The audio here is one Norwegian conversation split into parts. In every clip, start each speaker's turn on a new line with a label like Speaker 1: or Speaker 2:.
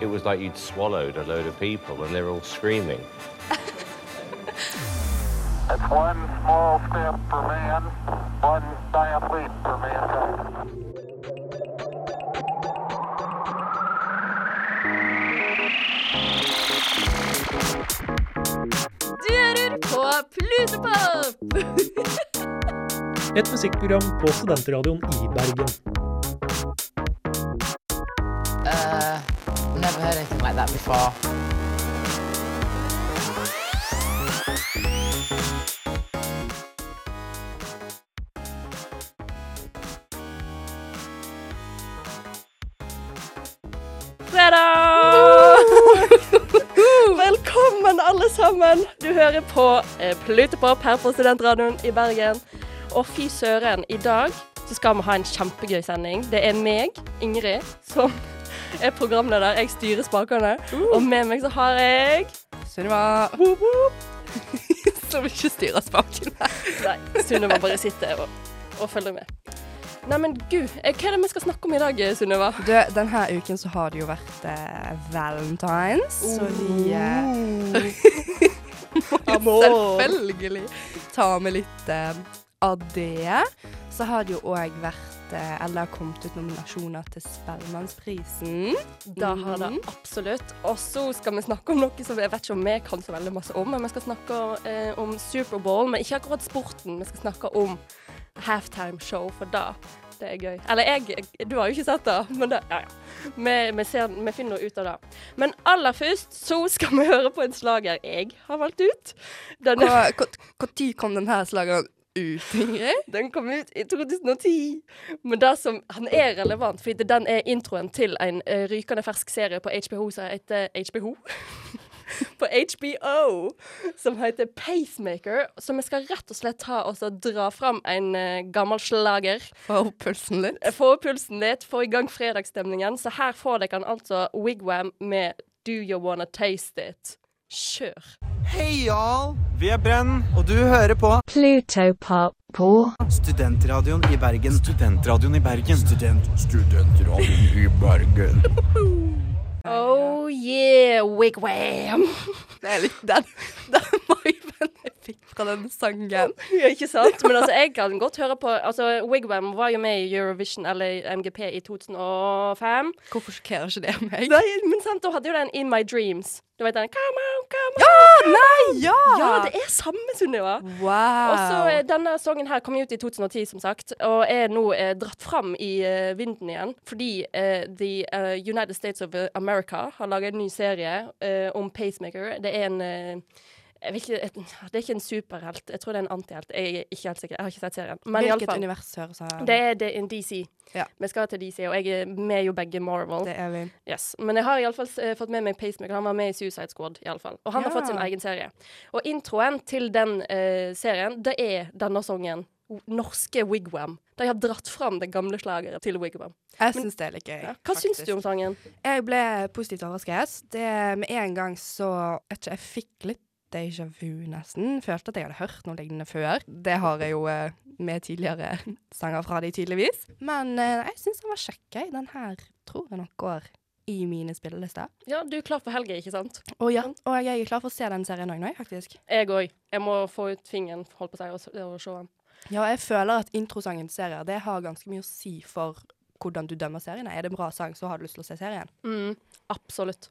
Speaker 1: It was like you'd swallowed a load of people and they're all screaming.
Speaker 2: It's one small step for man, one giant leap for mankind.
Speaker 3: Du hører på Plutopop!
Speaker 4: Et musikkprogram på studentradioen i Bergen.
Speaker 5: Uh, never heard anything like that before.
Speaker 6: fredag! Velkommen, alle sammen. Du hører på eh, Plutepop her på Studentradioen i Bergen. Og fy søren, i dag så skal vi ha en kjempegøy sending. Det er meg, Ingrid, som er programleder. Jeg styrer spakene. Og med meg så har jeg
Speaker 3: Sunniva
Speaker 6: Woop, woop.
Speaker 3: som ikke styrer spakene.
Speaker 6: Nei, Sunniva bare sitter og, og følger med. Neimen, gud. eh, Hva er det vi skal snakke om i dag, Sunniva?
Speaker 3: Du, denne uken så har det jo vært eh, valentines, så vi eh, selvfølgelig tar med litt eh, av det. Så har det jo òg vært eh, eller kommet ut nominasjoner til Spellemannsprisen.
Speaker 6: Da har
Speaker 3: Mhm.
Speaker 6: det absolutt. Og så skal vi snakke om noe som jeg vet ikke om vi kan så veldig masse om, men vi skal snakke eh, om Superbowl, men ikke akkurat sporten. Vi skal snakke om halftime-show, for da det er gøy. Eller jeg Du har jo ikke sett det, men det Ja, ja. Vi, vi, ser, vi finner ut av det. Men aller først så skal vi høre på en slager jeg har valgt ut. Den,
Speaker 3: Når kom denne slageren ut, Ingrid?
Speaker 6: den kom ut i 2010. Men det som, han er relevant, for den er introen til en eh, rykende fersk serie på HBO som heter HBO. på HBO, som heter Pacemaker. Så vi skal rett og slett ta oss og dra fram en eh, gammel slager.
Speaker 3: Få opp pulsen litt.
Speaker 6: Få opp pulsen litt, få i gang fredagsstemningen. Så her får dere han altså Wigwam med Do You Wanna Taste It. Kjør.
Speaker 7: Hei, y'all! Vi er Brenn, og du hører på Studentradioen i Bergen. Studentradioen i Bergen. Student, studentradioen i Bergen.
Speaker 6: Oh yeah, Wigwam.
Speaker 3: Det er litt den, den viben jeg fikk fra den sangen.
Speaker 6: Ja, ikke sant? Men altså, jeg kan godt høre på Altså, Wigwam var jo med i Eurovision eller MGP i 2005.
Speaker 3: Hvorfor sjokkerer ikke det meg?
Speaker 6: Nei, men sant, da hadde jo den In My Dreams. Du vet den Come on, come on!
Speaker 3: Ja, nei, ja!
Speaker 6: Ja, det er samme, Sunniva.
Speaker 3: Wow.
Speaker 6: Og så eh, Denne sangen her kom ut i 2010, som sagt, og er nå eh, dratt fram i eh, vinden igjen fordi eh, The eh, United States of America har laga en ny serie eh, om pacemaker. Det er en eh, jeg vet ikke, et, det er ikke en superhelt, jeg tror det er en antihelt. Jeg er ikke helt sikker, jeg har ikke sett serien. Men i alle
Speaker 3: Hvilket
Speaker 6: fall,
Speaker 3: univers høres av
Speaker 6: det er det en DC.
Speaker 3: Ja.
Speaker 6: Vi skal til DC, og jeg er med jo begge Marvel.
Speaker 3: Det er vi.
Speaker 6: Yes. Men jeg har iallfall eh, fått med meg Pacemaker. Han var med i Suicide Squad. I alle fall. Og han har
Speaker 3: Ja.
Speaker 6: fått sin egen serie. Og introen til den eh, serien, det er denne sangen. O- Norske Wigwam. De har dratt fram det gamle slageret til Wigwam.
Speaker 3: Jeg syns det er litt gøy.
Speaker 6: Ja. Hva syns du om sangen?
Speaker 3: Jeg ble positivt overrasket. Det, med en gang så vet ikke, Jeg fikk litt déjà vu, nesten. Følte at jeg hadde hørt noe lignende før. Det har jeg jo eh, med tidligere sanger fra de, tydeligvis. Men eh, jeg syns den var kjekk, jeg. Den her tror jeg nok går i mine spillelister.
Speaker 6: Ja, du er klar for helga, ikke sant?
Speaker 3: Og ja, og jeg er klar for å se den serien òg nå, faktisk.
Speaker 6: Jeg òg. Jeg må få ut fingeren, holdt på å si, og, s- og se den.
Speaker 3: Ja, jeg føler at introsangen til serier det har ganske mye å si for hvordan du dømmer seriene. Er det en bra sang, så har du lyst til å se serien.
Speaker 6: Mm, absolutt.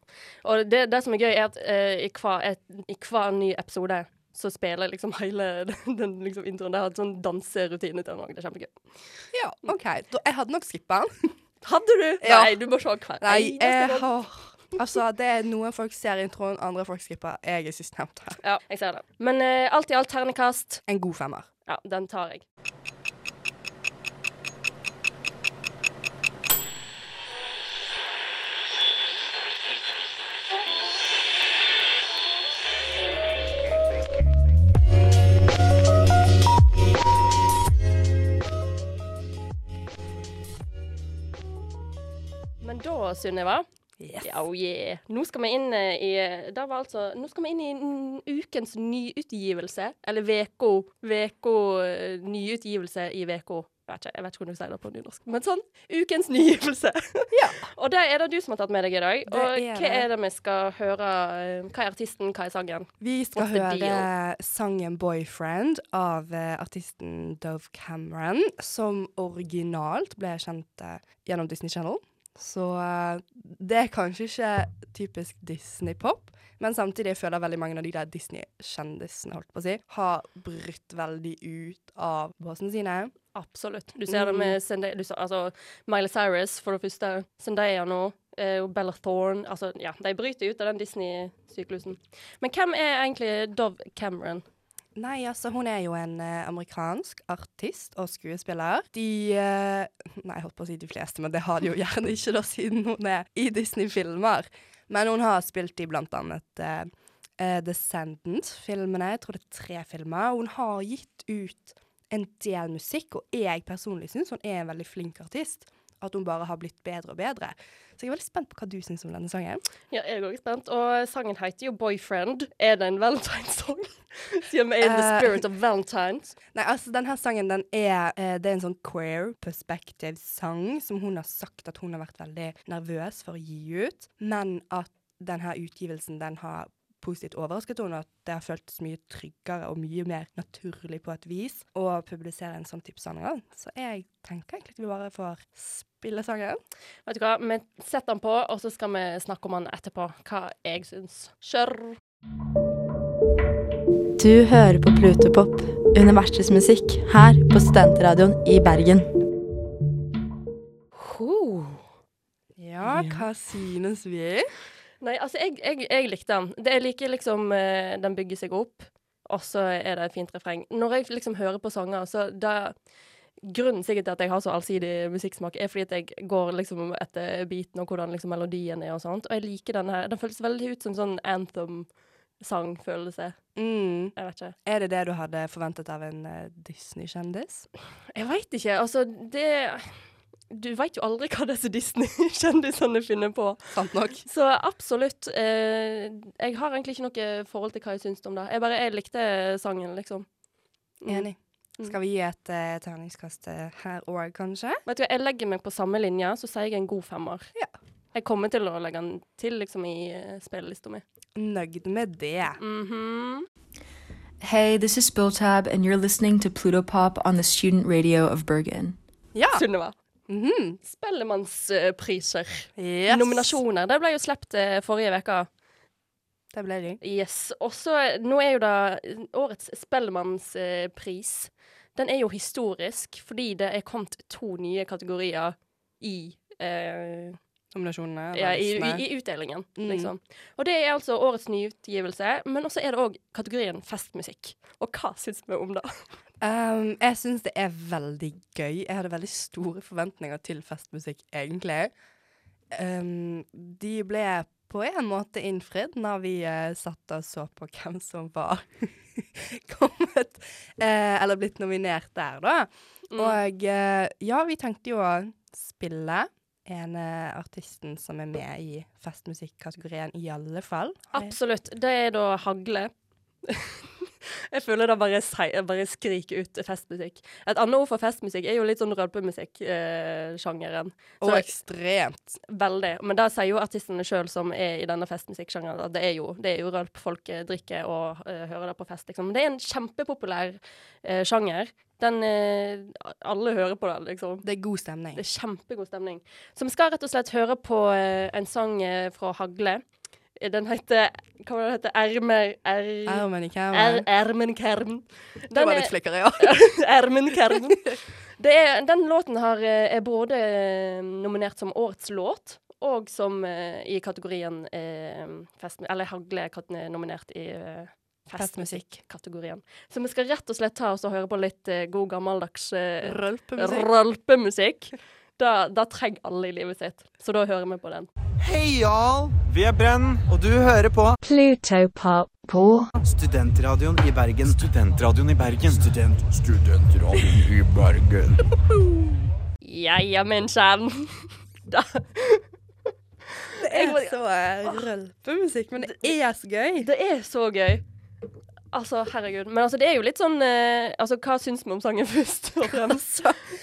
Speaker 6: Og det, det som er gøy, er at eh, i, hver, et, i hver ny episode så spiller liksom hele den, den liksom introen. Det har en sånn danserutine til den òg. Det er kjempegøy.
Speaker 3: Ja, OK. Da, jeg hadde nok skippa den.
Speaker 6: Hadde du?
Speaker 3: Ja.
Speaker 6: Nei, du må se hver
Speaker 3: Nei,
Speaker 6: eneste
Speaker 3: jeg
Speaker 6: gang.
Speaker 3: har Altså, det er noen folk ser introen, andre folk skipper. Jeg er sistnevnte.
Speaker 6: Ja, jeg ser det. Men eh, alt i alt ternekast.
Speaker 3: En god femmer.
Speaker 6: Ja, den tar jeg. Men da, Sunniva,
Speaker 3: Yes.
Speaker 6: Ja, oh yeah. Nå skal vi inn eh, i da var altså, Nå skal vi inn i n- ukens nyutgivelse. Eller veko, veko eh, Nyutgivelse i veko. Jeg vet ikke, jeg vet ikke hvordan du sier det på nynorsk, men sånn ukens nygivelse.
Speaker 3: Ja.
Speaker 6: Og det er det du som har tatt med deg i dag.
Speaker 3: Det
Speaker 6: Og
Speaker 3: er
Speaker 6: hva
Speaker 3: det.
Speaker 6: er det vi skal høre? eh, Hva er artisten, hva er sangen?
Speaker 3: Vi skal
Speaker 6: What's the
Speaker 3: høre eh, sangen 'Boyfriend' av eh, artisten Dove Cameron, som originalt ble kjent eh, gjennom Disney Channel. Så eh, det er kanskje ikke typisk Disney-pop, men samtidig føler jeg veldig mange av de der Disney-kjendisene holdt på å si, har brutt veldig ut av båsene sine.
Speaker 6: Absolutt. Du ser det med Zendaya, du ser, altså, Miley Cyrus, for det første. Zendaya nå. eh, Og Bella Thorne. Altså, ja, de bryter ut av den Disney-syklusen. Men hvem er egentlig Dove Cameron?
Speaker 3: Nei, altså, hun er jo en eh, amerikansk artist og skuespiller. De eh, Nei, jeg holdt på å si de fleste, men det har de jo gjerne ikke, da, siden hun er i Disney-filmer. Men hun har spilt i blant annet eh, eh, Descendant-filmene. Jeg tror det er tre filmer. Hun har gitt ut en del musikk, og jeg personlig syns hun er en veldig flink artist. At hun bare har blitt bedre og bedre. Så jeg er veldig spent på hva du syns om denne sangen.
Speaker 6: Ja, jeg er også spent. Og sangen heter jo 'Boyfriend'. Er det en valentinesang? Siden vi er in the
Speaker 3: Eh.
Speaker 6: spirit of valentines.
Speaker 3: Nei, altså denne sangen den er, eh, det er en sånn queer perspective-sang som hun har sagt at hun har vært veldig nervøs for å gi ut, men at denne utgivelsen den har positivt overrasket henne, og at det har føltes mye tryggere og mye mer naturlig på et vis å publisere en sånn type sanger. Så jeg tenker egentlig at vi bare får spille sangen.
Speaker 6: Vet du hva, vi setter den på, og så skal vi snakke om den etterpå. Hva jeg syns. Kjør!
Speaker 8: Du hører på Plutopop, universets musikk, her på Studentradioen i Bergen.
Speaker 3: Ja, hva synes vi?
Speaker 6: Nei, altså, jeg, jeg, jeg likte den. Det jeg liker liksom eh, Den bygger seg opp, og så er det et fint refreng. Når jeg liksom hører på sanger, så da Grunnen sikkert til at jeg har så allsidig musikksmak, er fordi at jeg går liksom etter beaten og hvordan liksom melodien er og sånt. Og jeg liker den her. Den føles veldig ut som sånn anthem-sangfølelse.
Speaker 3: Mm.
Speaker 6: Jeg vet ikke.
Speaker 3: Er det det du hadde forventet av en eh, Disney-kjendis?
Speaker 6: Jeg veit ikke. Altså, det Du veit jo aldri hva disse Disney-kjendisene finner på.
Speaker 3: Sant nok.
Speaker 6: Så absolutt. Eh, jeg har egentlig ikke noe forhold til hva jeg syns om det. Jeg bare jeg likte sangen, liksom. Mm.
Speaker 3: Enig. Skal vi gi et eh, terningskast eh, her òg, kanskje?
Speaker 6: Vet du, hva, Jeg legger meg på samme linje, så sier jeg en god femmer.
Speaker 3: Ja.
Speaker 6: Jeg kommer til å legge den til liksom, i eh, spillelista mi.
Speaker 3: Nøyd med det.
Speaker 6: Mhm.
Speaker 9: Hey, this is Spilltab, and you're listening to Pluto Pop on the student radio of Bergen.
Speaker 3: Ja.
Speaker 6: Sunniva.
Speaker 3: Mhm.
Speaker 6: Spellemannspriser.
Speaker 3: Yes.
Speaker 6: Nominasjoner. Det ble jo sluppet eh, forrige uke.
Speaker 3: Det ble det.
Speaker 6: Yes. Og så nå er jo da eh, årets Spellemannspris eh, Den er jo historisk fordi det er kommet to nye kategorier i eh,
Speaker 3: Nominasjonene.
Speaker 6: ja, i,
Speaker 3: listene.
Speaker 6: i, i utdelingen,
Speaker 3: Mm.
Speaker 6: liksom. Og det er altså årets nyutgivelse, men også er det òg kategorien festmusikk. Og hva syns vi om det?
Speaker 3: Um, jeg syns det er veldig gøy. Jeg hadde veldig store forventninger til festmusikk, egentlig. Um, de ble på en måte innfridd når vi eh, satt og så på hvem som var kommet eh, Eller blitt nominert der, da.
Speaker 6: Mm.
Speaker 3: Og eh, ja, vi tenkte jo å spille en eh, artisten som er med i festmusikkategorien, i alle fall.
Speaker 6: Absolutt. Det er da hagle. Jeg føler det bare, si- bare skriker ut festmusikk. Et annet ord for festmusikk er jo litt sånn eh, rølpemusikk-sjangeren.
Speaker 3: Og ekstremt.
Speaker 6: Veldig. Men det sier jo artistene sjøl som er i denne festmusikksjangeren, at det er jo, det er jo rølp folk eh, drikker og eh, hører det på fest, liksom. Men det er en kjempepopulær eh, sjanger. Den eh, Alle hører på den, liksom.
Speaker 3: Det er god stemning.
Speaker 6: Det er kjempegod stemning. Så vi skal rett og slett høre på eh, en sang eh, fra Hagle. Eh, Den heter Hva var det den heter? Ermer... Er,
Speaker 3: Armen i
Speaker 6: er,
Speaker 3: kæven.
Speaker 6: Ermenkern.
Speaker 3: Det
Speaker 6: Den
Speaker 3: var
Speaker 6: er-
Speaker 3: litt flikkere, ja.
Speaker 6: Ermenkern. Det er, den låten her eh, er både eh, nominert som årets låt, og som eh, i kategorien eh, festmu- Eller Hagle er kat- nominert i eh,
Speaker 3: Festmusikk.
Speaker 6: festmusikk-kategorien. Så vi skal rett og slett ta oss og høre på litt eh, god gammeldags eh,
Speaker 3: Rølpemusikk.
Speaker 6: rølpemusikk. Da, da trenger alle i livet sitt. Så da hører vi på den.
Speaker 7: Hei, y'all! Vi er Brenn, og du hører på
Speaker 10: Plutopop på
Speaker 7: Studentradioen i Bergen. Studentradioen i Bergen. Student, studentradioen i Bergen.
Speaker 6: Ja ja, min kjære. Da.
Speaker 3: Det er så eh, rølpemusikk, men det er så gøy.
Speaker 6: Det er så gøy. Altså, herregud. Men altså, det er jo litt sånn eh, Altså, hva syns vi om sangen først og fremst?
Speaker 3: Altså,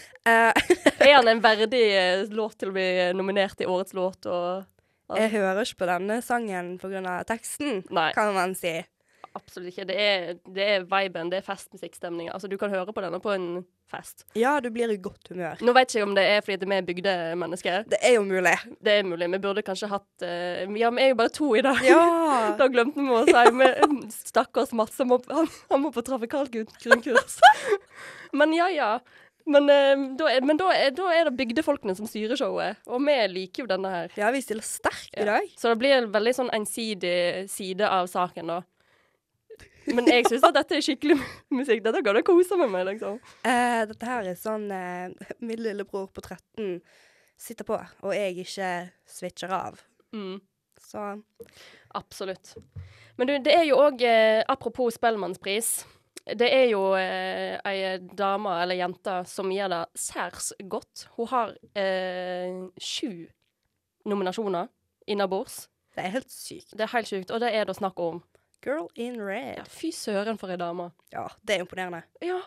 Speaker 6: er han en verdig eh, låt til å bli nominert i årets låt? Og,
Speaker 3: Jeg hører ikke på denne sangen pga. teksten, kan man si.
Speaker 6: Absolutt ikke. Det er, det er viben, det er festmusikkstemninga. Altså, du kan høre på denne på en fest.
Speaker 3: Ja, du blir i godt humør.
Speaker 6: Nå vet jeg ikke om det er fordi at vi er bygdemennesker.
Speaker 3: Det er jo mulig.
Speaker 6: Det er mulig. Vi burde kanskje hatt eh, Ja, vi er jo bare to i dag.
Speaker 3: Ja.
Speaker 6: da glemte vi mm, å si men, Stakkars Mats, han må, han, han må på trafikalt grunn- grunnkurs. men ja, ja. Men, eh, da, er, men da, er, da er det bygdefolkene som styrer showet, og vi liker jo denne her.
Speaker 3: Ja, vi stiller sterkt
Speaker 6: i dag. Så det blir en veldig sånn ensidig side av saken, da. Men jeg syns at dette er skikkelig musikk. Dette går det å kose meg med, liksom.
Speaker 3: Eh, dette her er sånn eh, min lillebror på 13 sitter på, og jeg ikke switcher av.
Speaker 6: Mm.
Speaker 3: Så
Speaker 6: Absolutt. Men du, det er jo òg, eh, apropos Spellemannspris Det er jo eh, ei dame eller jente som gjør det særs godt. Hun har eh, sju nominasjoner innabords.
Speaker 3: Det er helt sykt.
Speaker 6: Det er helt sykt, og det er det snakk om.
Speaker 3: Girl in red.
Speaker 6: Ja, fy søren for ei dame.
Speaker 3: Ja, det er imponerende.
Speaker 6: Ja,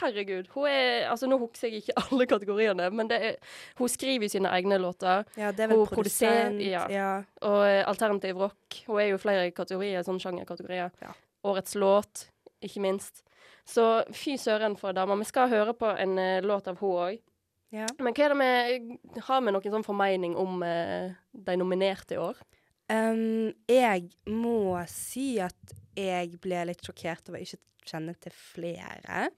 Speaker 6: herregud. Hun er Altså, nå husker jeg ikke alle kategoriene, men det er, hun skriver jo sine egne låter.
Speaker 3: Ja, det er vel
Speaker 6: Hun
Speaker 3: produsent,
Speaker 6: produserer- ja.
Speaker 3: ja.
Speaker 6: Og eh, alternativ rock. Hun er jo i flere kategorier, sånn sjangerkategorier. Årets låt, ikke minst. Så fy søren for ei dame. Vi skal høre på en eh, låt av hun òg.
Speaker 3: Ja.
Speaker 6: Men hva er det vi Har vi noen sånn formening om eh, de nominerte i år?
Speaker 3: Em, jeg må si at jeg ble litt sjokkert over ikke å kjenne til flere.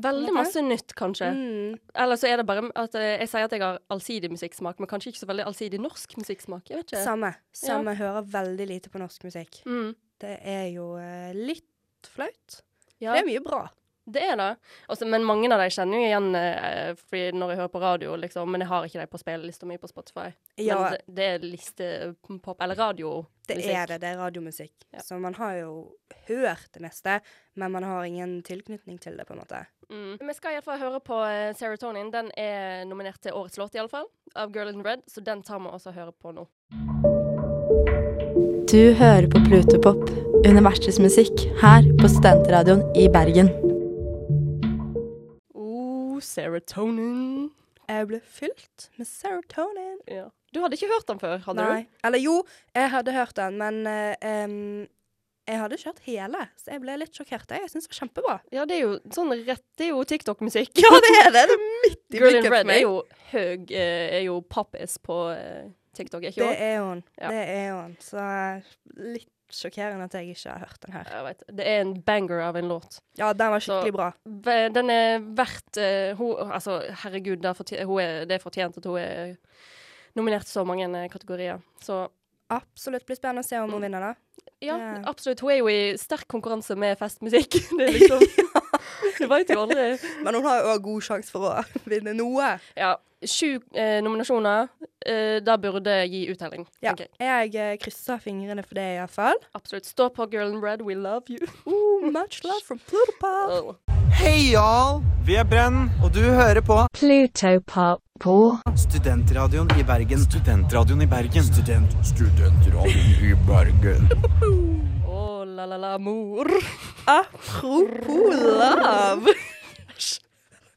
Speaker 6: Veldig masse nytt, kanskje.
Speaker 3: Mm.
Speaker 6: Eller så er det bare at eh, jeg sier at jeg har allsidig musikksmak, men kanskje ikke så veldig allsidig norsk musikksmak. Jeg vet ikke.
Speaker 3: Samme. Samme
Speaker 6: Ja.
Speaker 3: hører veldig lite på norsk musikk.
Speaker 6: Mm.
Speaker 3: Det er jo eh, litt flaut.
Speaker 6: Ja.
Speaker 3: Det er mye bra.
Speaker 6: Det er det. Også, men mange av dem kjenner jo igjen eh, fordi når jeg hører på radio, liksom, men jeg har ikke dem på spillelista mi på Spotify.
Speaker 3: Ja.
Speaker 6: Men det, det er listepop, eller radiomusikk.
Speaker 3: Det er det. Det er radiomusikk. Så man har jo hørt det meste, men man har ingen tilknytning til det, på en måte.
Speaker 6: Mm. Vi skal iallfall høre på eh, Serotonin. Den er nominert til årets låt, iallfall, av Girl in Red, så den tar vi også og hører på nå.
Speaker 8: Du hører på Plutopop, universets musikk, her på Studentradioen i Bergen.
Speaker 6: Oh, serotonin.
Speaker 3: Jeg ble fylt med serotonin.
Speaker 6: Ja. Du hadde ikke hørt den før, hadde
Speaker 3: Nei.
Speaker 6: du?
Speaker 3: Eller jo, jeg hadde hørt den, men eh, em, jeg hadde ikke hørt hele, så jeg ble litt sjokkert. Jeg syns det var kjempebra.
Speaker 6: Ja, det er jo sånn rett Det er jo TikTok-musikk.
Speaker 3: Ja, det er det! Det er midt i
Speaker 6: Girl in
Speaker 3: blikket for
Speaker 6: Red er
Speaker 3: meg.
Speaker 6: jo høy eh, Er jo pappis på eh, TikTok, er ikke
Speaker 3: Det er hun.
Speaker 6: Ja.
Speaker 3: Det er hun. Så eh, litt sjokkerende at jeg ikke har hørt den her.
Speaker 6: Jeg vet. Det er en banger av en låt.
Speaker 3: Ja, den var skikkelig bra.
Speaker 6: Ve- Den er verdt eh, hun, Altså, herregud, det er, fortjent, hun er, det er fortjent at hun er nominert til så mange eh, kategorier. Så
Speaker 3: Absolutt. Blir spennende å se om
Speaker 6: Mm.
Speaker 3: hun vinner, da.
Speaker 6: ja,
Speaker 3: Det-
Speaker 6: absolutt. Hun er jo i sterk konkurranse med festmusikk. Det er liksom Du veit jo aldri.
Speaker 3: Men hun har jo også god sjanse for å vinne noe.
Speaker 6: Ja. Sju eh, nominasjoner. Eh, det burde gi uttelling.
Speaker 3: Ja.
Speaker 6: tenker jeg.
Speaker 3: Jeg eh, krysser fingrene for det, iallfall.
Speaker 6: Absolutt. Stå på, girl in red, we love you.
Speaker 3: Ooh, much love from Plutopop.
Speaker 7: Hei, y'all! Vi er Brenn, og du hører på
Speaker 10: Plutopop Paul.
Speaker 7: Studentradioen i Bergen. Studentradioen i Bergen. Student, studentradioen i Bergen.
Speaker 6: Å, Oh, la, la, la, mor.
Speaker 3: Apropos love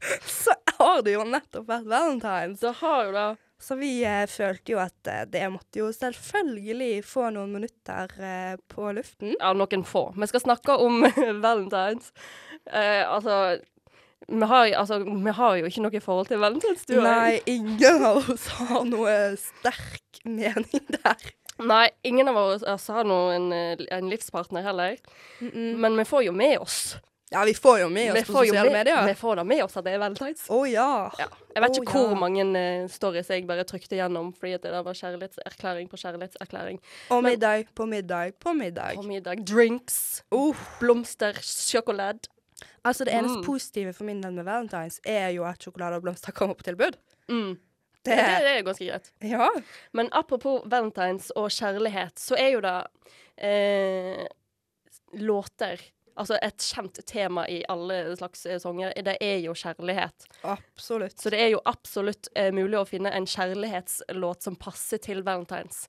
Speaker 3: Så har det jo nettopp vært valentines.
Speaker 6: Det har jo det.
Speaker 3: Så vi eh, følte jo at eh, det måtte jo selvfølgelig få noen minutter eh, på luften.
Speaker 6: Ja, noen få. Vi skal snakke om valentines. Eh, altså, vi har, altså Vi har jo ikke noe forhold til valentines, du og
Speaker 3: Nei,
Speaker 6: jeg.
Speaker 3: ingen av oss har noe sterk mening der.
Speaker 6: Nei, ingen av oss altså, har noen eh, en livspartner heller. Men vi får jo med oss.
Speaker 3: Ja, vi får jo med oss på
Speaker 6: får jo
Speaker 3: sosiale
Speaker 6: med- Vi
Speaker 3: medier.
Speaker 6: får da med oss at det er valentines.
Speaker 3: Å ja.
Speaker 6: Jeg vet
Speaker 3: Å,
Speaker 6: ikke hvor
Speaker 3: ja.
Speaker 6: mange eh, stories jeg bare trykte gjennom fordi at det der var kjærlighetserklæring på kjærlighetserklæring.
Speaker 3: Og middag på middag på middag.
Speaker 6: På middag. Drinks. Blomster. Sjokolade.
Speaker 3: Altså Det eneste
Speaker 6: Mm.
Speaker 3: positive for min del med valentines er jo at sjokolade og blomster kommer på tilbud.
Speaker 6: Mm.
Speaker 3: Det-
Speaker 6: Ja, det, det er ganske greit.
Speaker 3: Ja.
Speaker 6: Men apropos valentines og kjærlighet, så er jo det eh, låter Altså et kjent tema i alle slags eh, sanger, det er jo kjærlighet.
Speaker 3: Absolutt.
Speaker 6: Så det er jo absolutt eh, mulig å finne en kjærlighetslåt som passer til valentines.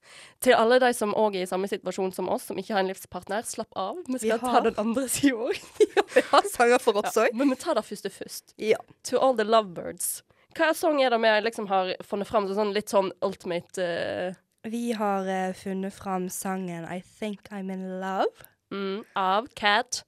Speaker 6: Til alle de som òg er i samme situasjon som oss, som ikke har en livspartner, slapp av. Vi skal ta
Speaker 3: har-
Speaker 6: den andre sida òg.
Speaker 3: Ja, sanger for oss
Speaker 6: Ja,
Speaker 3: òg.
Speaker 6: men vi tar det første først.
Speaker 3: Ja.
Speaker 6: To All The Lovebirds Hva sang er det vi liksom har funnet fram? Så sånn, litt sånn ultimate eh,
Speaker 3: Vi har eh, funnet fram sangen I Think I'm In Love.
Speaker 6: mm, Av Cat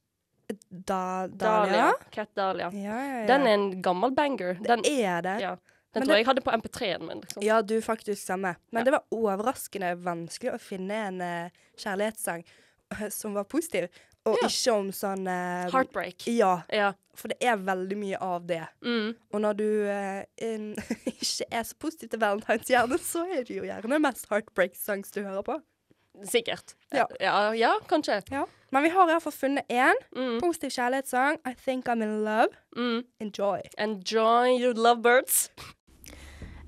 Speaker 3: Da, Dahlia.
Speaker 6: Dahlia. Cat Dahlia.
Speaker 3: Ja, ja, ja.
Speaker 6: Den er en gammel banger. Den,
Speaker 3: Er det?
Speaker 6: ja,
Speaker 3: Men
Speaker 6: den tror
Speaker 3: det-
Speaker 6: jeg jeg hadde på MP3-en min. Liksom.
Speaker 3: Ja, du faktisk samme. Men det var overraskende vanskelig å finne en eh, kjærlighetssang eh, som var positiv, og
Speaker 6: Ja.
Speaker 3: ikke om sånn eh,
Speaker 6: Heartbreak.
Speaker 3: Ja,
Speaker 6: Ja.
Speaker 3: for det er veldig mye av det.
Speaker 6: Mm.
Speaker 3: Og når du eh, in, ikke er så positiv til valentinshjernen, så er det jo gjerne mest heartbreak-sangs du hører på.
Speaker 6: Sikkert.
Speaker 3: Ja.
Speaker 6: ja, ja, kanskje.
Speaker 3: Men vi har i hvert fall funnet én
Speaker 6: Mm.
Speaker 3: positiv kjærlighetssang. I think I'm in love.
Speaker 6: Mm.
Speaker 3: Enjoy.
Speaker 6: Enjoy your lovebirds.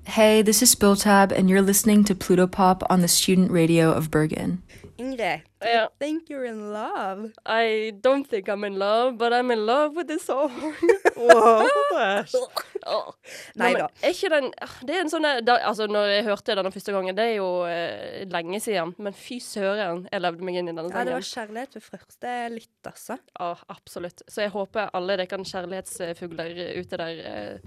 Speaker 9: Hey, this is Spill Tab, and you're listening to Pluto Pop on the student radio of Bergen.
Speaker 3: Ingrid,
Speaker 6: Ja.
Speaker 3: think you're in love.
Speaker 6: I don't think I'm in love, but I'm in love with this song. Åh.
Speaker 3: Nei
Speaker 6: men
Speaker 3: da.
Speaker 6: Er ikke den ah, Det er en sånn der- da, Altså, når jeg hørte den første gangen, det er jo eh, lenge siden, men fy søren, jeg levde meg inn i denne
Speaker 3: Ja,
Speaker 6: sangen.
Speaker 3: det var kjærlighet ved første lytt, altså.
Speaker 6: Ja, absolutt. Så jeg håper alle dere kjærlighetsfugler ute der eh,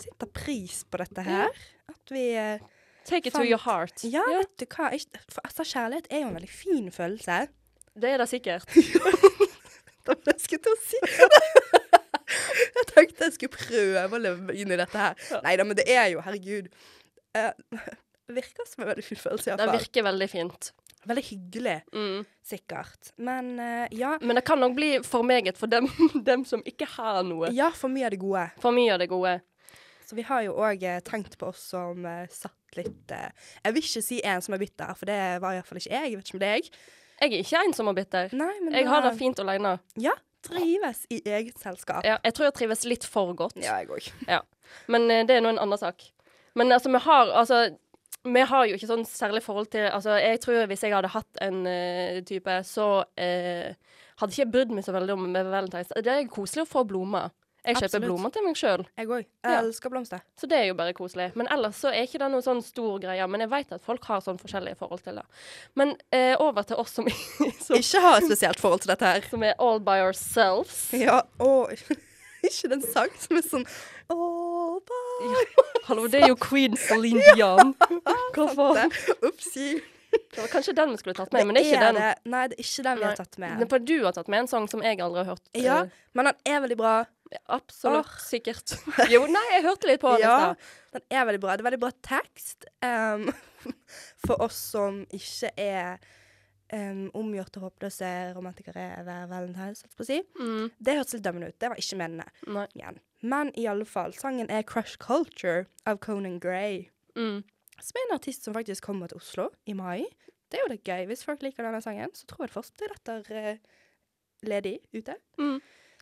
Speaker 3: Setter pris på dette her. At vi eh,
Speaker 6: Take it to
Speaker 3: Fant-
Speaker 6: your heart.
Speaker 3: Ja, vet du hva. Jeg, for, altså, kjærlighet er jo en veldig fin følelse.
Speaker 6: Det er det sikkert.
Speaker 3: Det var det jeg skulle til å si. jeg tenkte jeg skulle prøve å leve meg inn i dette her. Nei da, men det er jo Herregud. Eh, virker som en veldig fin følelse,
Speaker 6: Det
Speaker 3: iallfall.
Speaker 6: virker veldig fint.
Speaker 3: Veldig hyggelig,
Speaker 6: Mm.
Speaker 3: sikkert. Men eh, ja,
Speaker 6: Men det kan nok bli for meget for dem, dem som ikke har noe.
Speaker 3: ja, for mye av det gode.
Speaker 6: For mye av det gode.
Speaker 3: Så vi har jo òg eh, tenkt på oss som eh, satt litt eh, Jeg vil ikke si en som er bitter, for det var iallfall ikke jeg. Jeg vet ikke om det er jeg.
Speaker 6: Jeg er ikke en som er bitter.
Speaker 3: Nei, men
Speaker 6: Jeg har
Speaker 3: da-
Speaker 6: det fint alene.
Speaker 3: Ja, trives i eget selskap.
Speaker 6: Ja, jeg tror jeg trives litt for godt.
Speaker 3: jeg òg.
Speaker 6: Ja. Men eh, det er nå en annen sak. Men altså, vi har altså vi har jo ikke sånn særlig forhold til Altså, jeg tror hvis jeg hadde hatt en eh, type, så eh, hadde ikke jeg brydd meg så veldig om med valentines. Det er koselig å få blomster. Jeg kjøper
Speaker 3: Absolutt.
Speaker 6: blomster til meg sjøl,
Speaker 3: Jeg òg.
Speaker 6: Ja.
Speaker 3: Jeg elsker blomster.
Speaker 6: så det er jo bare koselig. Men ellers så er ikke det noen sånn stor greie. Men jeg vet at folk har sånn forskjellige forhold til det. Men eh, over til oss som, som,
Speaker 3: Ikke ha et spesielt forhold til dette her.
Speaker 6: som er all by ourselves.
Speaker 3: Ja, og ikke den sang som er sånn All by
Speaker 6: Hallo, det er jo queen Celine Dion. Hvorfor?
Speaker 3: Upsi.
Speaker 6: Det var kanskje den vi skulle tatt med, men det er ikke den.
Speaker 3: det. Nei, det er ikke den vi
Speaker 6: Nei.
Speaker 3: har tatt med.
Speaker 6: Men på- Du har tatt med en sang som jeg aldri har hørt. eh,
Speaker 3: Ja, men den er veldig bra.
Speaker 6: absolutt.
Speaker 3: Åh.
Speaker 6: Sikkert. Jo, nei, jeg hørte litt på den.
Speaker 3: Ja,
Speaker 6: Ja.
Speaker 3: den er veldig bra. Det er veldig bra tekst em, for oss som ikke er em, omgjorte, håpløse romantikere hver valentines, holdt jeg på å si.
Speaker 6: Mm,
Speaker 3: Det hørtes litt dømmende ut. Det var ikke mennene.
Speaker 6: nei.
Speaker 3: Igjen. Men i alle fall, sangen er Crush Culture av Conan Gray.
Speaker 6: Mm.
Speaker 3: Som er en artist som faktisk kommer til Oslo i mai. Det er jo litt gøy. Hvis folk liker denne sangen, så tror jeg det først er dette eh, ledig ute.
Speaker 6: Mm.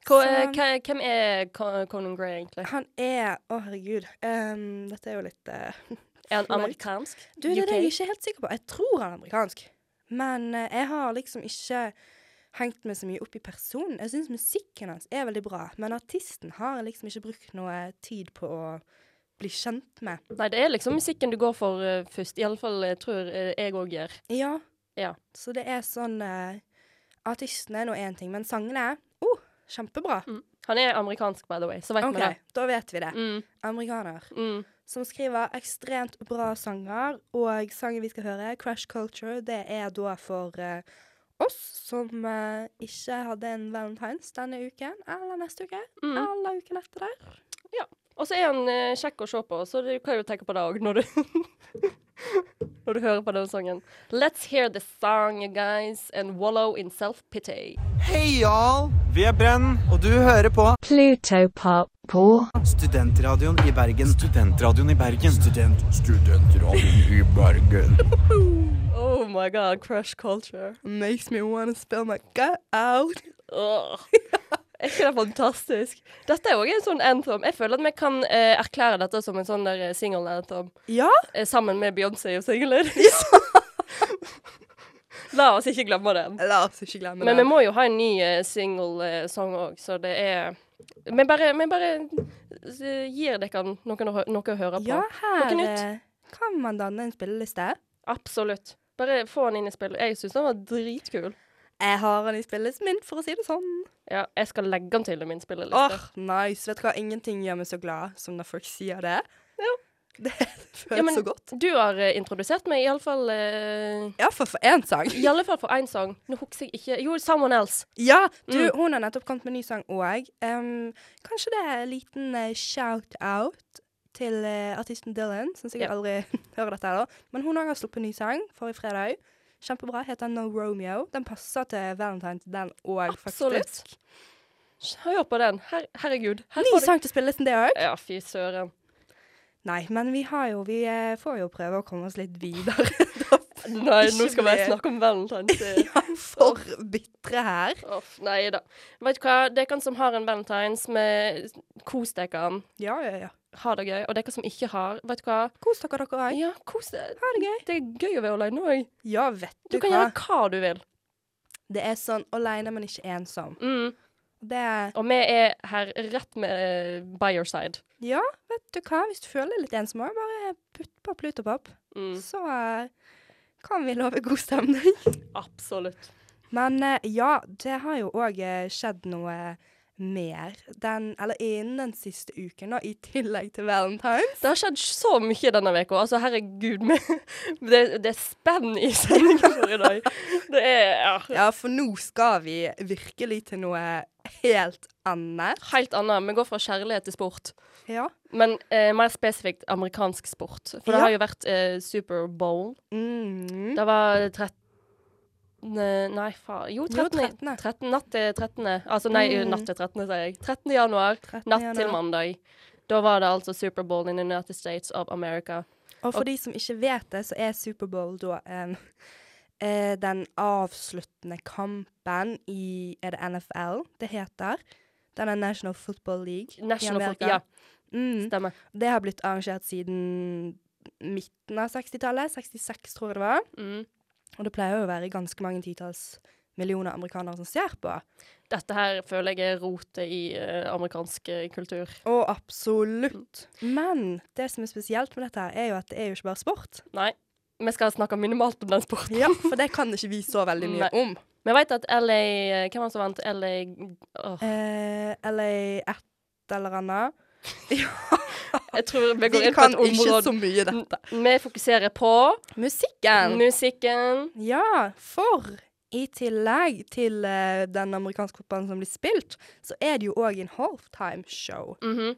Speaker 3: Så,
Speaker 6: Hva, eh, hva- hvem er Co- Conan Gray, egentlig?
Speaker 3: han er Å, herregud. em, dette er jo litt eh,
Speaker 6: Er han
Speaker 3: flaut.
Speaker 6: amerikansk?
Speaker 3: Du, det er det
Speaker 6: UK?
Speaker 3: jeg ikke er helt sikker på. Jeg tror han er amerikansk. Men eh, jeg har liksom ikke hengt meg så mye opp i personen. Jeg syns musikken hans er veldig bra, men artisten har jeg liksom ikke brukt noe tid på å bli kjent med.
Speaker 6: Nei, det er liksom musikken du går for eh, først. Iallfall uh, tror eh, jeg òg gjør.
Speaker 3: Ja.
Speaker 6: Ja.
Speaker 3: Så det er sånn eh, Artisten er nå én ting, men sangene er oh, kjempebra.
Speaker 6: Han er amerikansk, by the way, så vet vi
Speaker 3: OK,
Speaker 6: det.
Speaker 3: da vet vi det.
Speaker 6: Mm,
Speaker 3: Amerikaner.
Speaker 6: mm.
Speaker 3: Som skriver ekstremt bra sanger, og sangen vi skal høre, Crash Culture, det er da for eh, oss som eh, ikke hadde en valentines denne uken, eller neste uke,
Speaker 6: Mm.
Speaker 3: eller uken etter der.
Speaker 6: Og så er han eh, kjekk å se på, så du kan jo tenke på det òg når du Når du hører på den sangen. Let's hear the song, you guys, and wallow in self-pity.
Speaker 7: Hei, y'all! Vi er Brenn, og du hører på
Speaker 10: Pluto Pop Paul.
Speaker 7: Studentradioen i Bergen. Studentradioen i Bergen. Student, studentradioen i Bergen.
Speaker 6: Oh my god, crush culture.
Speaker 3: Makes me wanna spill my gut out.
Speaker 6: Åh. Er ikke det fantastisk? Dette er òg en sånn anthem. Jeg føler at vi kan eh, erklære dette som en sånn der eh, single anthem
Speaker 3: Ja,
Speaker 6: eh, sammen med Beyoncé og Single Ladies. La oss ikke glemme den.
Speaker 3: la oss ikke glemme
Speaker 6: Men vi
Speaker 3: det.
Speaker 6: må jo ha en ny eh, single-sang òg, så det er Vi bare, vi bare eh, gir dere noen å, hø- noe å høre på.
Speaker 3: Ja, her
Speaker 6: Noe nytt.
Speaker 3: eh, kan man danne en spilleliste.
Speaker 6: Absolutt. Bare få den inn i spillet. Jeg syns den var dritkul.
Speaker 3: Jeg har den i spillet min, for å si det sånn.
Speaker 6: Ja, jeg skal legge den til i min
Speaker 3: Åh,
Speaker 6: spilleliste.
Speaker 3: nice. Vet du hva, ingenting gjør meg så glad som når folk sier det. Det føles
Speaker 6: Ja, men
Speaker 3: så godt.
Speaker 6: Du har eh, introdusert meg, iallfall uh,
Speaker 3: Ja, for, for én sang.
Speaker 6: I alle fall for én sang. Nå husker jeg ikke Jo, 'Someone Else'.
Speaker 3: Ja, du,
Speaker 6: Mm.
Speaker 3: hun har nettopp kommet med en ny sang òg. Um, kanskje det er en liten eh, shout-out til eh, artisten Dylan, som sikkert
Speaker 6: Ja.
Speaker 3: aldri hører dette her, da. Men hun òg har sluppet en ny sang forrige fredag. Kjempebra. Heter No Romeo. Den passer til Valentine's, den òg,
Speaker 6: Absolutt.
Speaker 3: faktisk.
Speaker 6: Hør på den. Her, herregud. Her
Speaker 3: Ny
Speaker 6: får du-
Speaker 3: sang til spillelisten, det òg.
Speaker 6: Ja, fy søren.
Speaker 3: Nei, men vi har jo Vi eh, får jo prøve å komme oss litt videre.
Speaker 6: Nei, nå
Speaker 3: Ikke
Speaker 6: skal vi
Speaker 3: bli-
Speaker 6: snakke om Valentine's Day.
Speaker 3: ja, for bitre her.
Speaker 6: Uff, nei da. Vet du hva, dere som har en valentines, med kos dere.
Speaker 3: Ja, ja, ja.
Speaker 6: Ha det gøy. Og dere som ikke har, vet du hva
Speaker 3: Kos dere, dere òg.
Speaker 6: Ja, kos deg. Ha det gøy. Det er gøy å være alene òg.
Speaker 3: Ja, vet
Speaker 6: Du,
Speaker 3: du,
Speaker 6: kan
Speaker 3: hva.
Speaker 6: gjøre hva du vil.
Speaker 3: Det er sånn aleine, men ikke ensom.
Speaker 6: Mm.
Speaker 3: Det er
Speaker 6: Og vi er her rett med eh, by your side.
Speaker 3: Ja, vet du hva, hvis du føler deg litt ensom, også, bare putt på Plutopop,
Speaker 6: Mm.
Speaker 3: så eh, kan vi love god stemning.
Speaker 6: Absolutt.
Speaker 3: Men eh, ja, det har jo òg skjedd noe mer den, eller innen den siste uken, da, i tillegg til valentines.
Speaker 6: Det har skjedd så mye denne uka. Altså, herregud, vi- det, det er spenn i sendingen vår i dag. Det er ja,
Speaker 3: Ja, for nå skal vi virkelig til noe helt annet.
Speaker 6: helt annet. Vi går fra kjærlighet til sport.
Speaker 3: Ja.
Speaker 6: Men eh, mer spesifikt amerikansk sport. For
Speaker 3: Ja.
Speaker 6: det har jo vært eh, Super Bowl.
Speaker 3: Mm.
Speaker 6: Det var 13. Nei, faen. Jo,
Speaker 3: Jo,
Speaker 6: 13.
Speaker 3: 13..
Speaker 6: 13. Natt til 13. Altså, nei,
Speaker 3: Mm.
Speaker 6: natt til 13., sier jeg. 13. januar,
Speaker 3: 13.
Speaker 6: natt til
Speaker 3: januar.
Speaker 6: mandag. Da var det altså Super Bowl in the United States of America.
Speaker 3: Og for de som ikke vet det, så er Superbowl da em, eh, den avsluttende kampen i Er det NFL det heter? Den er National Football League
Speaker 6: National
Speaker 3: i
Speaker 6: Football,
Speaker 3: Amerika.
Speaker 6: ja,
Speaker 3: Mm.
Speaker 6: stemmer.
Speaker 3: Det har blitt arrangert siden midten av 60-tallet. 66, tror jeg det var.
Speaker 6: Mm.
Speaker 3: Og det pleier jo å være ganske mange titalls millioner amerikanere som ser på.
Speaker 6: Dette her føler jeg er rotet i eh, amerikansk eh, kultur.
Speaker 3: Å, absolutt.
Speaker 6: Mm.
Speaker 3: Men det som er spesielt med dette, her er jo at det er jo ikke bare sport.
Speaker 6: Nei, vi skal snakke minimalt om den sporten.
Speaker 3: Ja, For det kan ikke vi så veldig mye
Speaker 6: Nei.
Speaker 3: om.
Speaker 6: Vi vet at LA eh, Hvem var det som vant? LA åh,
Speaker 3: Eh, eller et eller annet.
Speaker 6: Jeg tror vi går
Speaker 3: Vi
Speaker 6: inn på
Speaker 3: kan
Speaker 6: et
Speaker 3: ikke
Speaker 6: område
Speaker 3: så mye det.
Speaker 6: Vi fokuserer på
Speaker 3: Musikken!
Speaker 6: musikken.
Speaker 3: Ja, for i tillegg til eh, den amerikanske fotballen som blir spilt, så er det jo òg en halftime-show
Speaker 6: Mhm.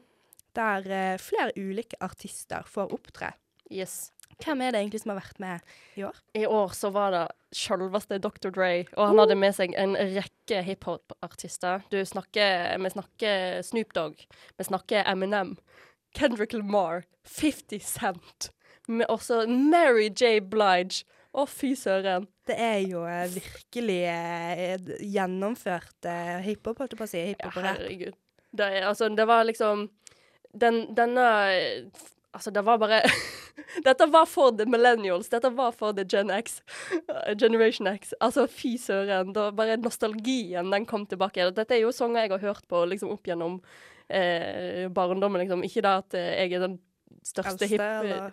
Speaker 3: der eh, flere ulike artister får opptre.
Speaker 6: Yes.
Speaker 3: Hvem er det egentlig som har vært med i år?
Speaker 6: I år så var det selveste Dr. Dre, og han hadde med seg en rekke hiphop-artister. Du snakker, Vi snakker Snoop Dogg, vi snakker Eminem, Kendrick Lamar, 50 Cent, men også Mary J. Blige. Å, fy søren.
Speaker 3: Det er jo eh, virkelig eh, d- gjennomført eh, hiphop, holdt jeg på å si.
Speaker 6: Ja,
Speaker 3: Hiphop og rap.
Speaker 6: herregud. Det, er, altså, det var liksom den, Denne Altså, det var bare Dette var for the millennials. Dette var for the Gen X. eh, Generation X. Altså, fy søren. Da bare nostalgien, den kom tilbake. Dette er jo sanger jeg har hørt på liksom, opp gjennom eh, barndommen, liksom. Ikke det at eh, jeg er den største
Speaker 3: Eldste,
Speaker 6: hipp... eh,
Speaker 3: eller?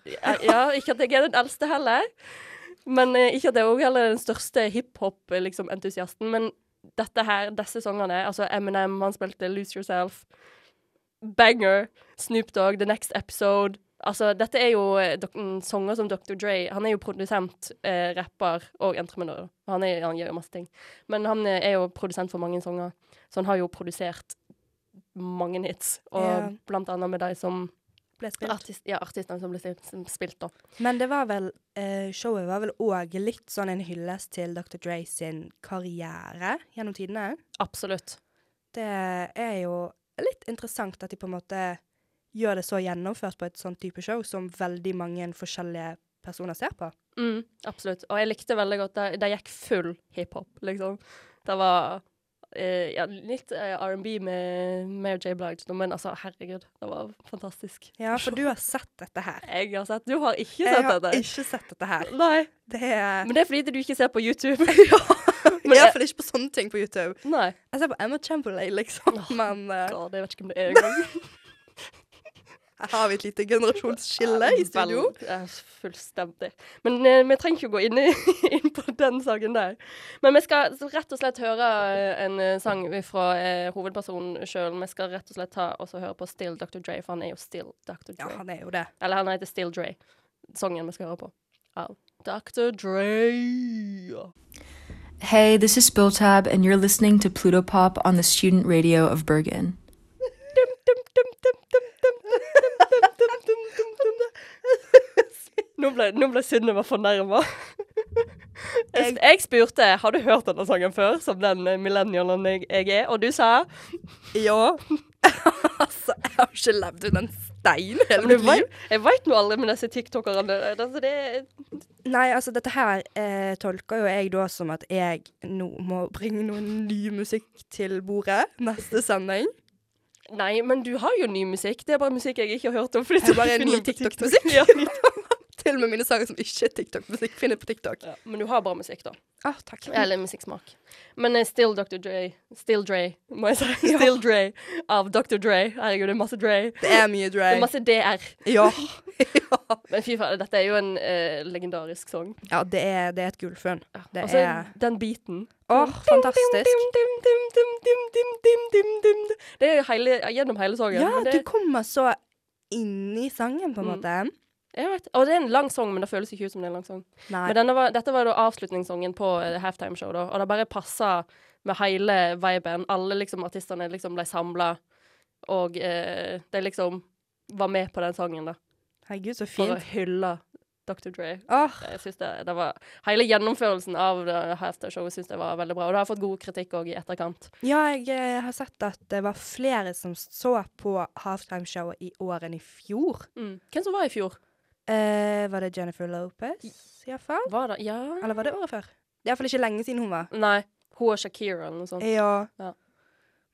Speaker 6: Ja, ikke at jeg er den eldste heller. Men eh, ikke at jeg òg heller er den største hiphop-entusiasten. men dette her, disse sangene Altså Eminem, han spilte Lose Yourself. Banger. Snoop Dogg, The Next Episode. Altså, dette er jo eh, dok- mm, sanger som Dr. Dre Han er jo produsent, eh, rapper og entreprenør. Han, er, han gjør jo masse ting. Men han eh, er jo produsent for mange sanger, så han har jo produsert mange hits. Og
Speaker 3: Ja.
Speaker 6: blant annet med de som
Speaker 3: Ble spilt.
Speaker 6: artist, ja, artistene som ble spilt, som spilt da.
Speaker 3: Men det var vel, eh, showet var vel òg litt sånn en hyllest til Dr. Dre sin karriere gjennom tidene.
Speaker 6: Absolutt.
Speaker 3: Det er jo litt interessant at de på en måte gjør det så gjennomført på et sånt type show som veldig mange forskjellige personer ser på.
Speaker 6: Mm, absolutt. Og jeg likte veldig godt det. Det gikk full hiphop, liksom. Det var eh, ja, litt eh, R&B med Mary J. Blige, nå, men altså, herregud, det var fantastisk.
Speaker 3: Ja, for du har sett dette her.
Speaker 6: Jeg har sett Du har ikke
Speaker 3: Jeg
Speaker 6: sett
Speaker 3: har
Speaker 6: dette?
Speaker 3: ikke sett dette her.
Speaker 6: Nei.
Speaker 3: Det er
Speaker 6: Men det er fordi du ikke ser på YouTube.
Speaker 3: men
Speaker 6: jeg-
Speaker 3: Iallfall ikke på sånne ting på YouTube.
Speaker 6: Nei.
Speaker 3: Jeg ser på Emma Chamberlain, liksom, men eh,
Speaker 6: God, jeg vet ikke om det er engang.
Speaker 3: Her har vi et lite generasjonsskille i studio.
Speaker 6: Vel, ja, fullstendig. Men eh, vi trenger ikke å gå inn, i, inn på den saken der. Men vi skal s- rett og slett høre eh, en eh, sang fra eh, hovedpersonen sjøl. Vi skal rett og slett ta og så høre på Still Dr. Dre, for han er jo Still Dr. Dre.
Speaker 3: Ja, han er jo det.
Speaker 6: Eller han heter Still Dre, sangen vi skal høre på. Av Dr. Dre.
Speaker 9: Hey, this is Spilltab, and you're listening to Pluto Pop on the student radio of Bergen.
Speaker 6: Nå ble, nå ble Synnøve fornærma. Jeg, jeg spurte har du hørt denne sangen før, som den eh, millennialen jeg, jeg er, og du sa
Speaker 3: Ja. altså, jeg har ikke levd under en stein hele
Speaker 6: Men jeg
Speaker 3: mitt liv.
Speaker 6: vet- Jeg veit nå aldri med disse tiktokerne. Altså det,
Speaker 3: Nei, altså dette her eh, tolker jo jeg da som at jeg nå må bringe noe ny musikk til bordet neste sending.
Speaker 6: nei, men du har jo ny musikk. Det er bare musikk jeg ikke har hørt om. fordi
Speaker 3: Det er bare
Speaker 6: jeg finner
Speaker 3: ny
Speaker 6: på TikTok.
Speaker 3: TikTok-musikk.
Speaker 6: Ja, ny TikTok.
Speaker 3: Til og med mine sanger som ikke er TikTok-musikk, finner jeg på TikTok.
Speaker 6: Ja, men du har bra musikk, da.
Speaker 3: Ah, takk.
Speaker 6: Eller musikksmak. Men eh, Still Dr. Dre, Still Dre, må jeg si. Still Dre av Dr. Dre. Herregud, det er masse Dre.
Speaker 3: Det er mye
Speaker 6: Det er
Speaker 3: Dre.
Speaker 6: masse DR.
Speaker 3: Ja.
Speaker 6: Men fy faen, dette er jo en eh, legendarisk sang.
Speaker 3: ja, det er, det er et gullfunn. Det
Speaker 6: altså,
Speaker 3: er-
Speaker 6: den beaten.
Speaker 3: Åh, fantastisk.
Speaker 6: Dim, dim, dim, dim, dim, dim, dim, dim, dim, dim. Det er hele, gjennom hele sangen.
Speaker 3: Ja,
Speaker 6: men
Speaker 3: du
Speaker 6: det, Mm.
Speaker 3: kommer så inn i sangen, på en måte.
Speaker 6: jeg vet, og det er en lang sang, men det føles ikke ut som det er en lang sang.
Speaker 3: Nei.
Speaker 6: Men denne var, dette var da avslutningssangen på eh, halftimeshow, da. Og det bare passa med hele viben. Alle liksom artistene liksom ble samla, og eh, de liksom var med på den sangen, da.
Speaker 3: Herregud, så
Speaker 6: For å
Speaker 3: fint.
Speaker 6: hylle Dr. Dre.
Speaker 3: Åh,
Speaker 6: Jeg synes det, det var, hele gjennomførelsen av det halftimeshowet syns jeg var veldig bra. Og det har fått god kritikk òg i etterkant.
Speaker 3: ja, jeg eh, har sett at det var flere som så på halftimeshowet i år enn i fjor.
Speaker 6: Mm. Hvem som var i fjor?
Speaker 3: Eh, var det Jennifer Lopez, iallfall?
Speaker 6: Var det Ja.
Speaker 3: Eller var det året før? Det er iallfall ikke lenge siden hun var.
Speaker 6: Nei. Hun og Shakira eller noe sånt.
Speaker 3: Eh, Ja.
Speaker 6: Ja.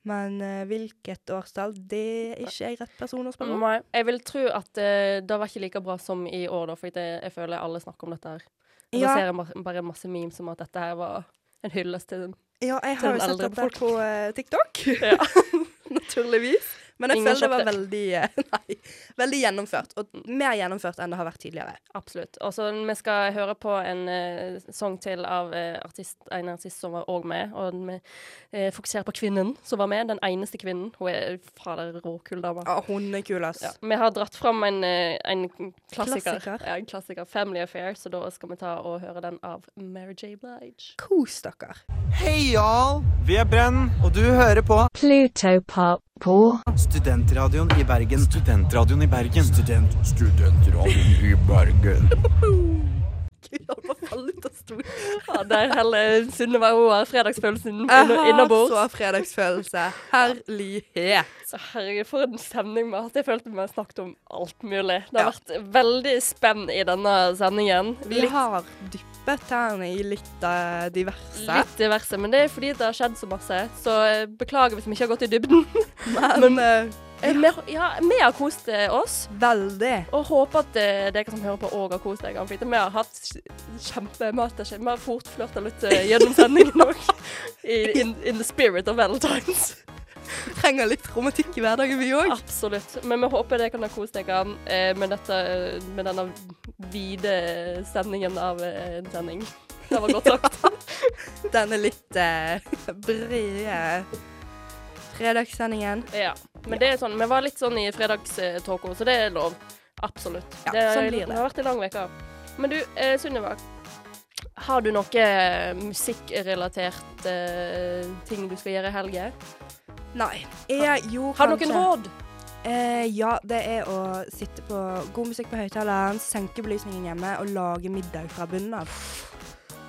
Speaker 3: Men eh, hvilket årstall, det er ikke jeg rett person å spørre om.
Speaker 6: Eh, Nei, Mm. jeg vil tro at eh, det var ikke like bra som i år, da, for det, jeg føler alle snakker om dette her. Og
Speaker 3: Ja.
Speaker 6: Da ser jeg ma- bare masse memes om at dette her var en hyllest til den.
Speaker 3: Ja, jeg
Speaker 6: Til
Speaker 3: har jo
Speaker 6: eldre
Speaker 3: sett dette
Speaker 6: folk.
Speaker 3: på eh, TikTok,
Speaker 6: Ja.
Speaker 3: naturligvis. Men jeg
Speaker 6: Ingen
Speaker 3: føler det var
Speaker 6: kjøpte.
Speaker 3: veldig, eh, nei, veldig gjennomført. Og mer gjennomført enn det har vært tidligere.
Speaker 6: Absolutt. Og så vi skal høre på en eh, sang til av eh, artist, en artist som var òg med. Og vi eh, fokuserer på kvinnen som var med. Den eneste kvinnen. Hun er fader råkul dame.
Speaker 3: Ja, hun er kul, ass.
Speaker 6: Ja. Vi har dratt fram en, eh, en klassiker.
Speaker 3: Klassiker.
Speaker 6: Ja, en klassiker. Family Affair. Så da skal vi ta og høre den av Mary J. Blige.
Speaker 3: Kos dere.
Speaker 7: Hei, y'all! Vi er Brenn, og du hører på
Speaker 10: Pluto Pop Paul.
Speaker 7: Studentradioen i Bergen. Studentradioen i Bergen. Student, studentradioen i Bergen.
Speaker 3: Gud, jeg bare falt ut av stolen.
Speaker 6: Ja, der heller Synnøve hun har fredagspølsen
Speaker 3: Jeg har
Speaker 6: innabords.
Speaker 3: så fredagsfølelse. Herlighet.
Speaker 6: Herregud, for en stemning vi har hatt. Jeg følte vi har snakket om alt mulig. Det har vært veldig spenn i denne sendingen.
Speaker 3: Vi har dyppet tærne i litt av diverse.
Speaker 6: Litt diverse, men det er fordi det har skjedd så masse. Så eh, beklager hvis vi ikke har gått i dybden.
Speaker 3: Men, eh,
Speaker 6: Eh, vi- Ja, vi har kost eh, oss,
Speaker 3: veldig.
Speaker 6: og håper at eh, dere som hører på òg har kost dere. For vi har hatt kjempe Vi har skje- vi har fortflørta litt eh, gjennom sendingen òg. In, in the spirit of Valentine's.
Speaker 3: Trenger litt romantikk i hverdagen, vi òg.
Speaker 6: Absolutt. Men vi håper dere kan ha kost dere eh, med, dette, eh, med denne vide sendingen av eh, en sending. Det var godt sagt.
Speaker 3: Denne litt eh, brede fredagssendingen.
Speaker 6: Ja. Men det er sånn, vi var litt sånn i fredagståka, så det er lov. Absolutt.
Speaker 3: Ja,
Speaker 6: det,
Speaker 3: sånn blir det.
Speaker 6: det har vært en lang uke. Men du, eh, Sunniva. Har du noe eh, musikkrelatert eh, ting du skal gjøre i helga?
Speaker 3: Nei. Jeg gjorde
Speaker 6: Har du noen
Speaker 3: kanskje-
Speaker 6: råd?
Speaker 3: Eh, ja, det er å sitte på god musikk på høyttaleren, senke belysningen hjemme og lage middag fra bunnen av.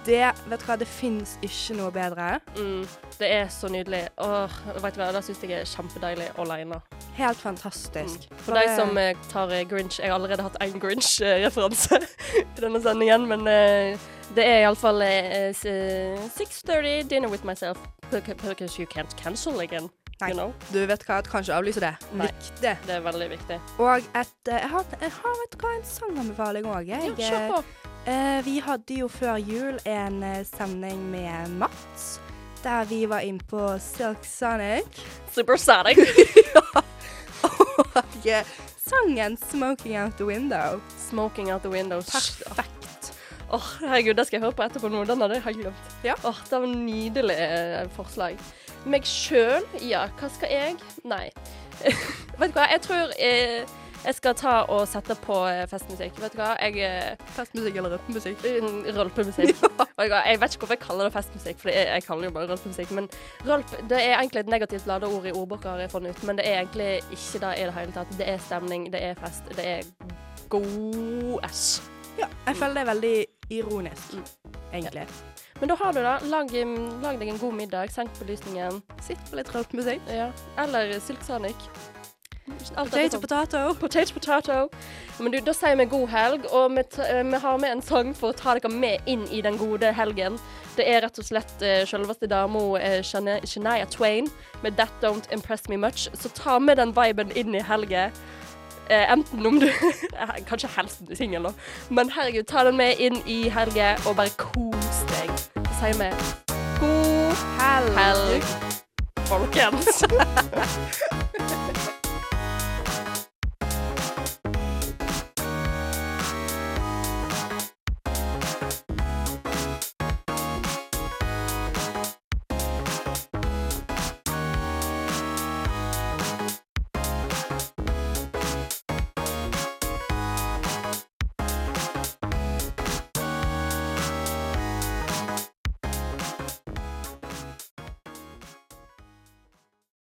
Speaker 3: Det vet du hva, det fins ikke noe bedre.
Speaker 6: Mm, det er så nydelig. Åh, vet du hva, Det syns jeg er kjempedeilig alene.
Speaker 3: Helt fantastisk.
Speaker 6: For de som eh, tar eh, Grinch Jeg har allerede hatt én Grinch-referanse i denne sendingen, men eh, det er iallfall uh, 6.30 dinner with myself beca- because you can't cancel again.
Speaker 3: Nei.
Speaker 6: You know?
Speaker 3: Du vet hva, jeg kan ikke avlyse det.
Speaker 6: Nei.
Speaker 3: Viktig.
Speaker 6: Det er veldig viktig.
Speaker 3: Og et, eh, jeg, har, jeg har vet du hva, en sanganbefaling òg.
Speaker 6: Ja, kjør på.
Speaker 3: Eh, vi hadde jo før jul en eh, sending med Mats, der vi var inn på Silk Sonic.
Speaker 6: eh? Supersonic.
Speaker 3: Og eh, sangen 'Smoking Out The Window'.
Speaker 6: Smoking Out The Window. Perfekt. Åh, herregud, det skal jeg høre på etterpå nå. Den hadde jeg helt glemt. Åh, det var nydelig eh, forslag. Meg sjøl? Ja, hva skal jeg? Nei. Vet du hva, jeg tror eh, jeg skal ta og sette på eh, festmusikk. Vet du hva, jeg eh,
Speaker 3: Festmusikk eller rølpemusikk?
Speaker 6: Rølpemusikk. Vet du hva, Jeg vet ikke hvorfor jeg kaller det festmusikk, for jeg, jeg kaller det jo bare rølpemusikk. Men rølp det er egentlig et negativt ladeord i ordboka, har jeg funnet ut. Men det er egentlig ikke det i det hele tatt. Det er stemning, det er fest, det er god æsj.
Speaker 3: Ja, jeg føler det er veldig ironisk,
Speaker 6: Mm.
Speaker 3: egentlig.
Speaker 6: Men da har du det. Lag, mm, lag deg en god middag, senk belysningen.
Speaker 3: Sitt på litt rølpemusikk.
Speaker 6: Ja. Eller Silk Sonic. Alt
Speaker 3: Potato,
Speaker 6: ettersom.
Speaker 3: potato.
Speaker 6: Potato, potato. Men du, da sier vi god helg, og vi, t eh, vi har med en sang for å ta dere med inn i den gode helgen. Det er rett og slett eh, selveste dama eh, Shania Shania Twain med That Don't Impress Me Much. Så ta med den viben inn i helgen. Eh, enten om du Kanskje helst om du er singel, da. Men herregud, ta den med inn i helgen, og bare kos deg. Så sier vi god helg, folkens.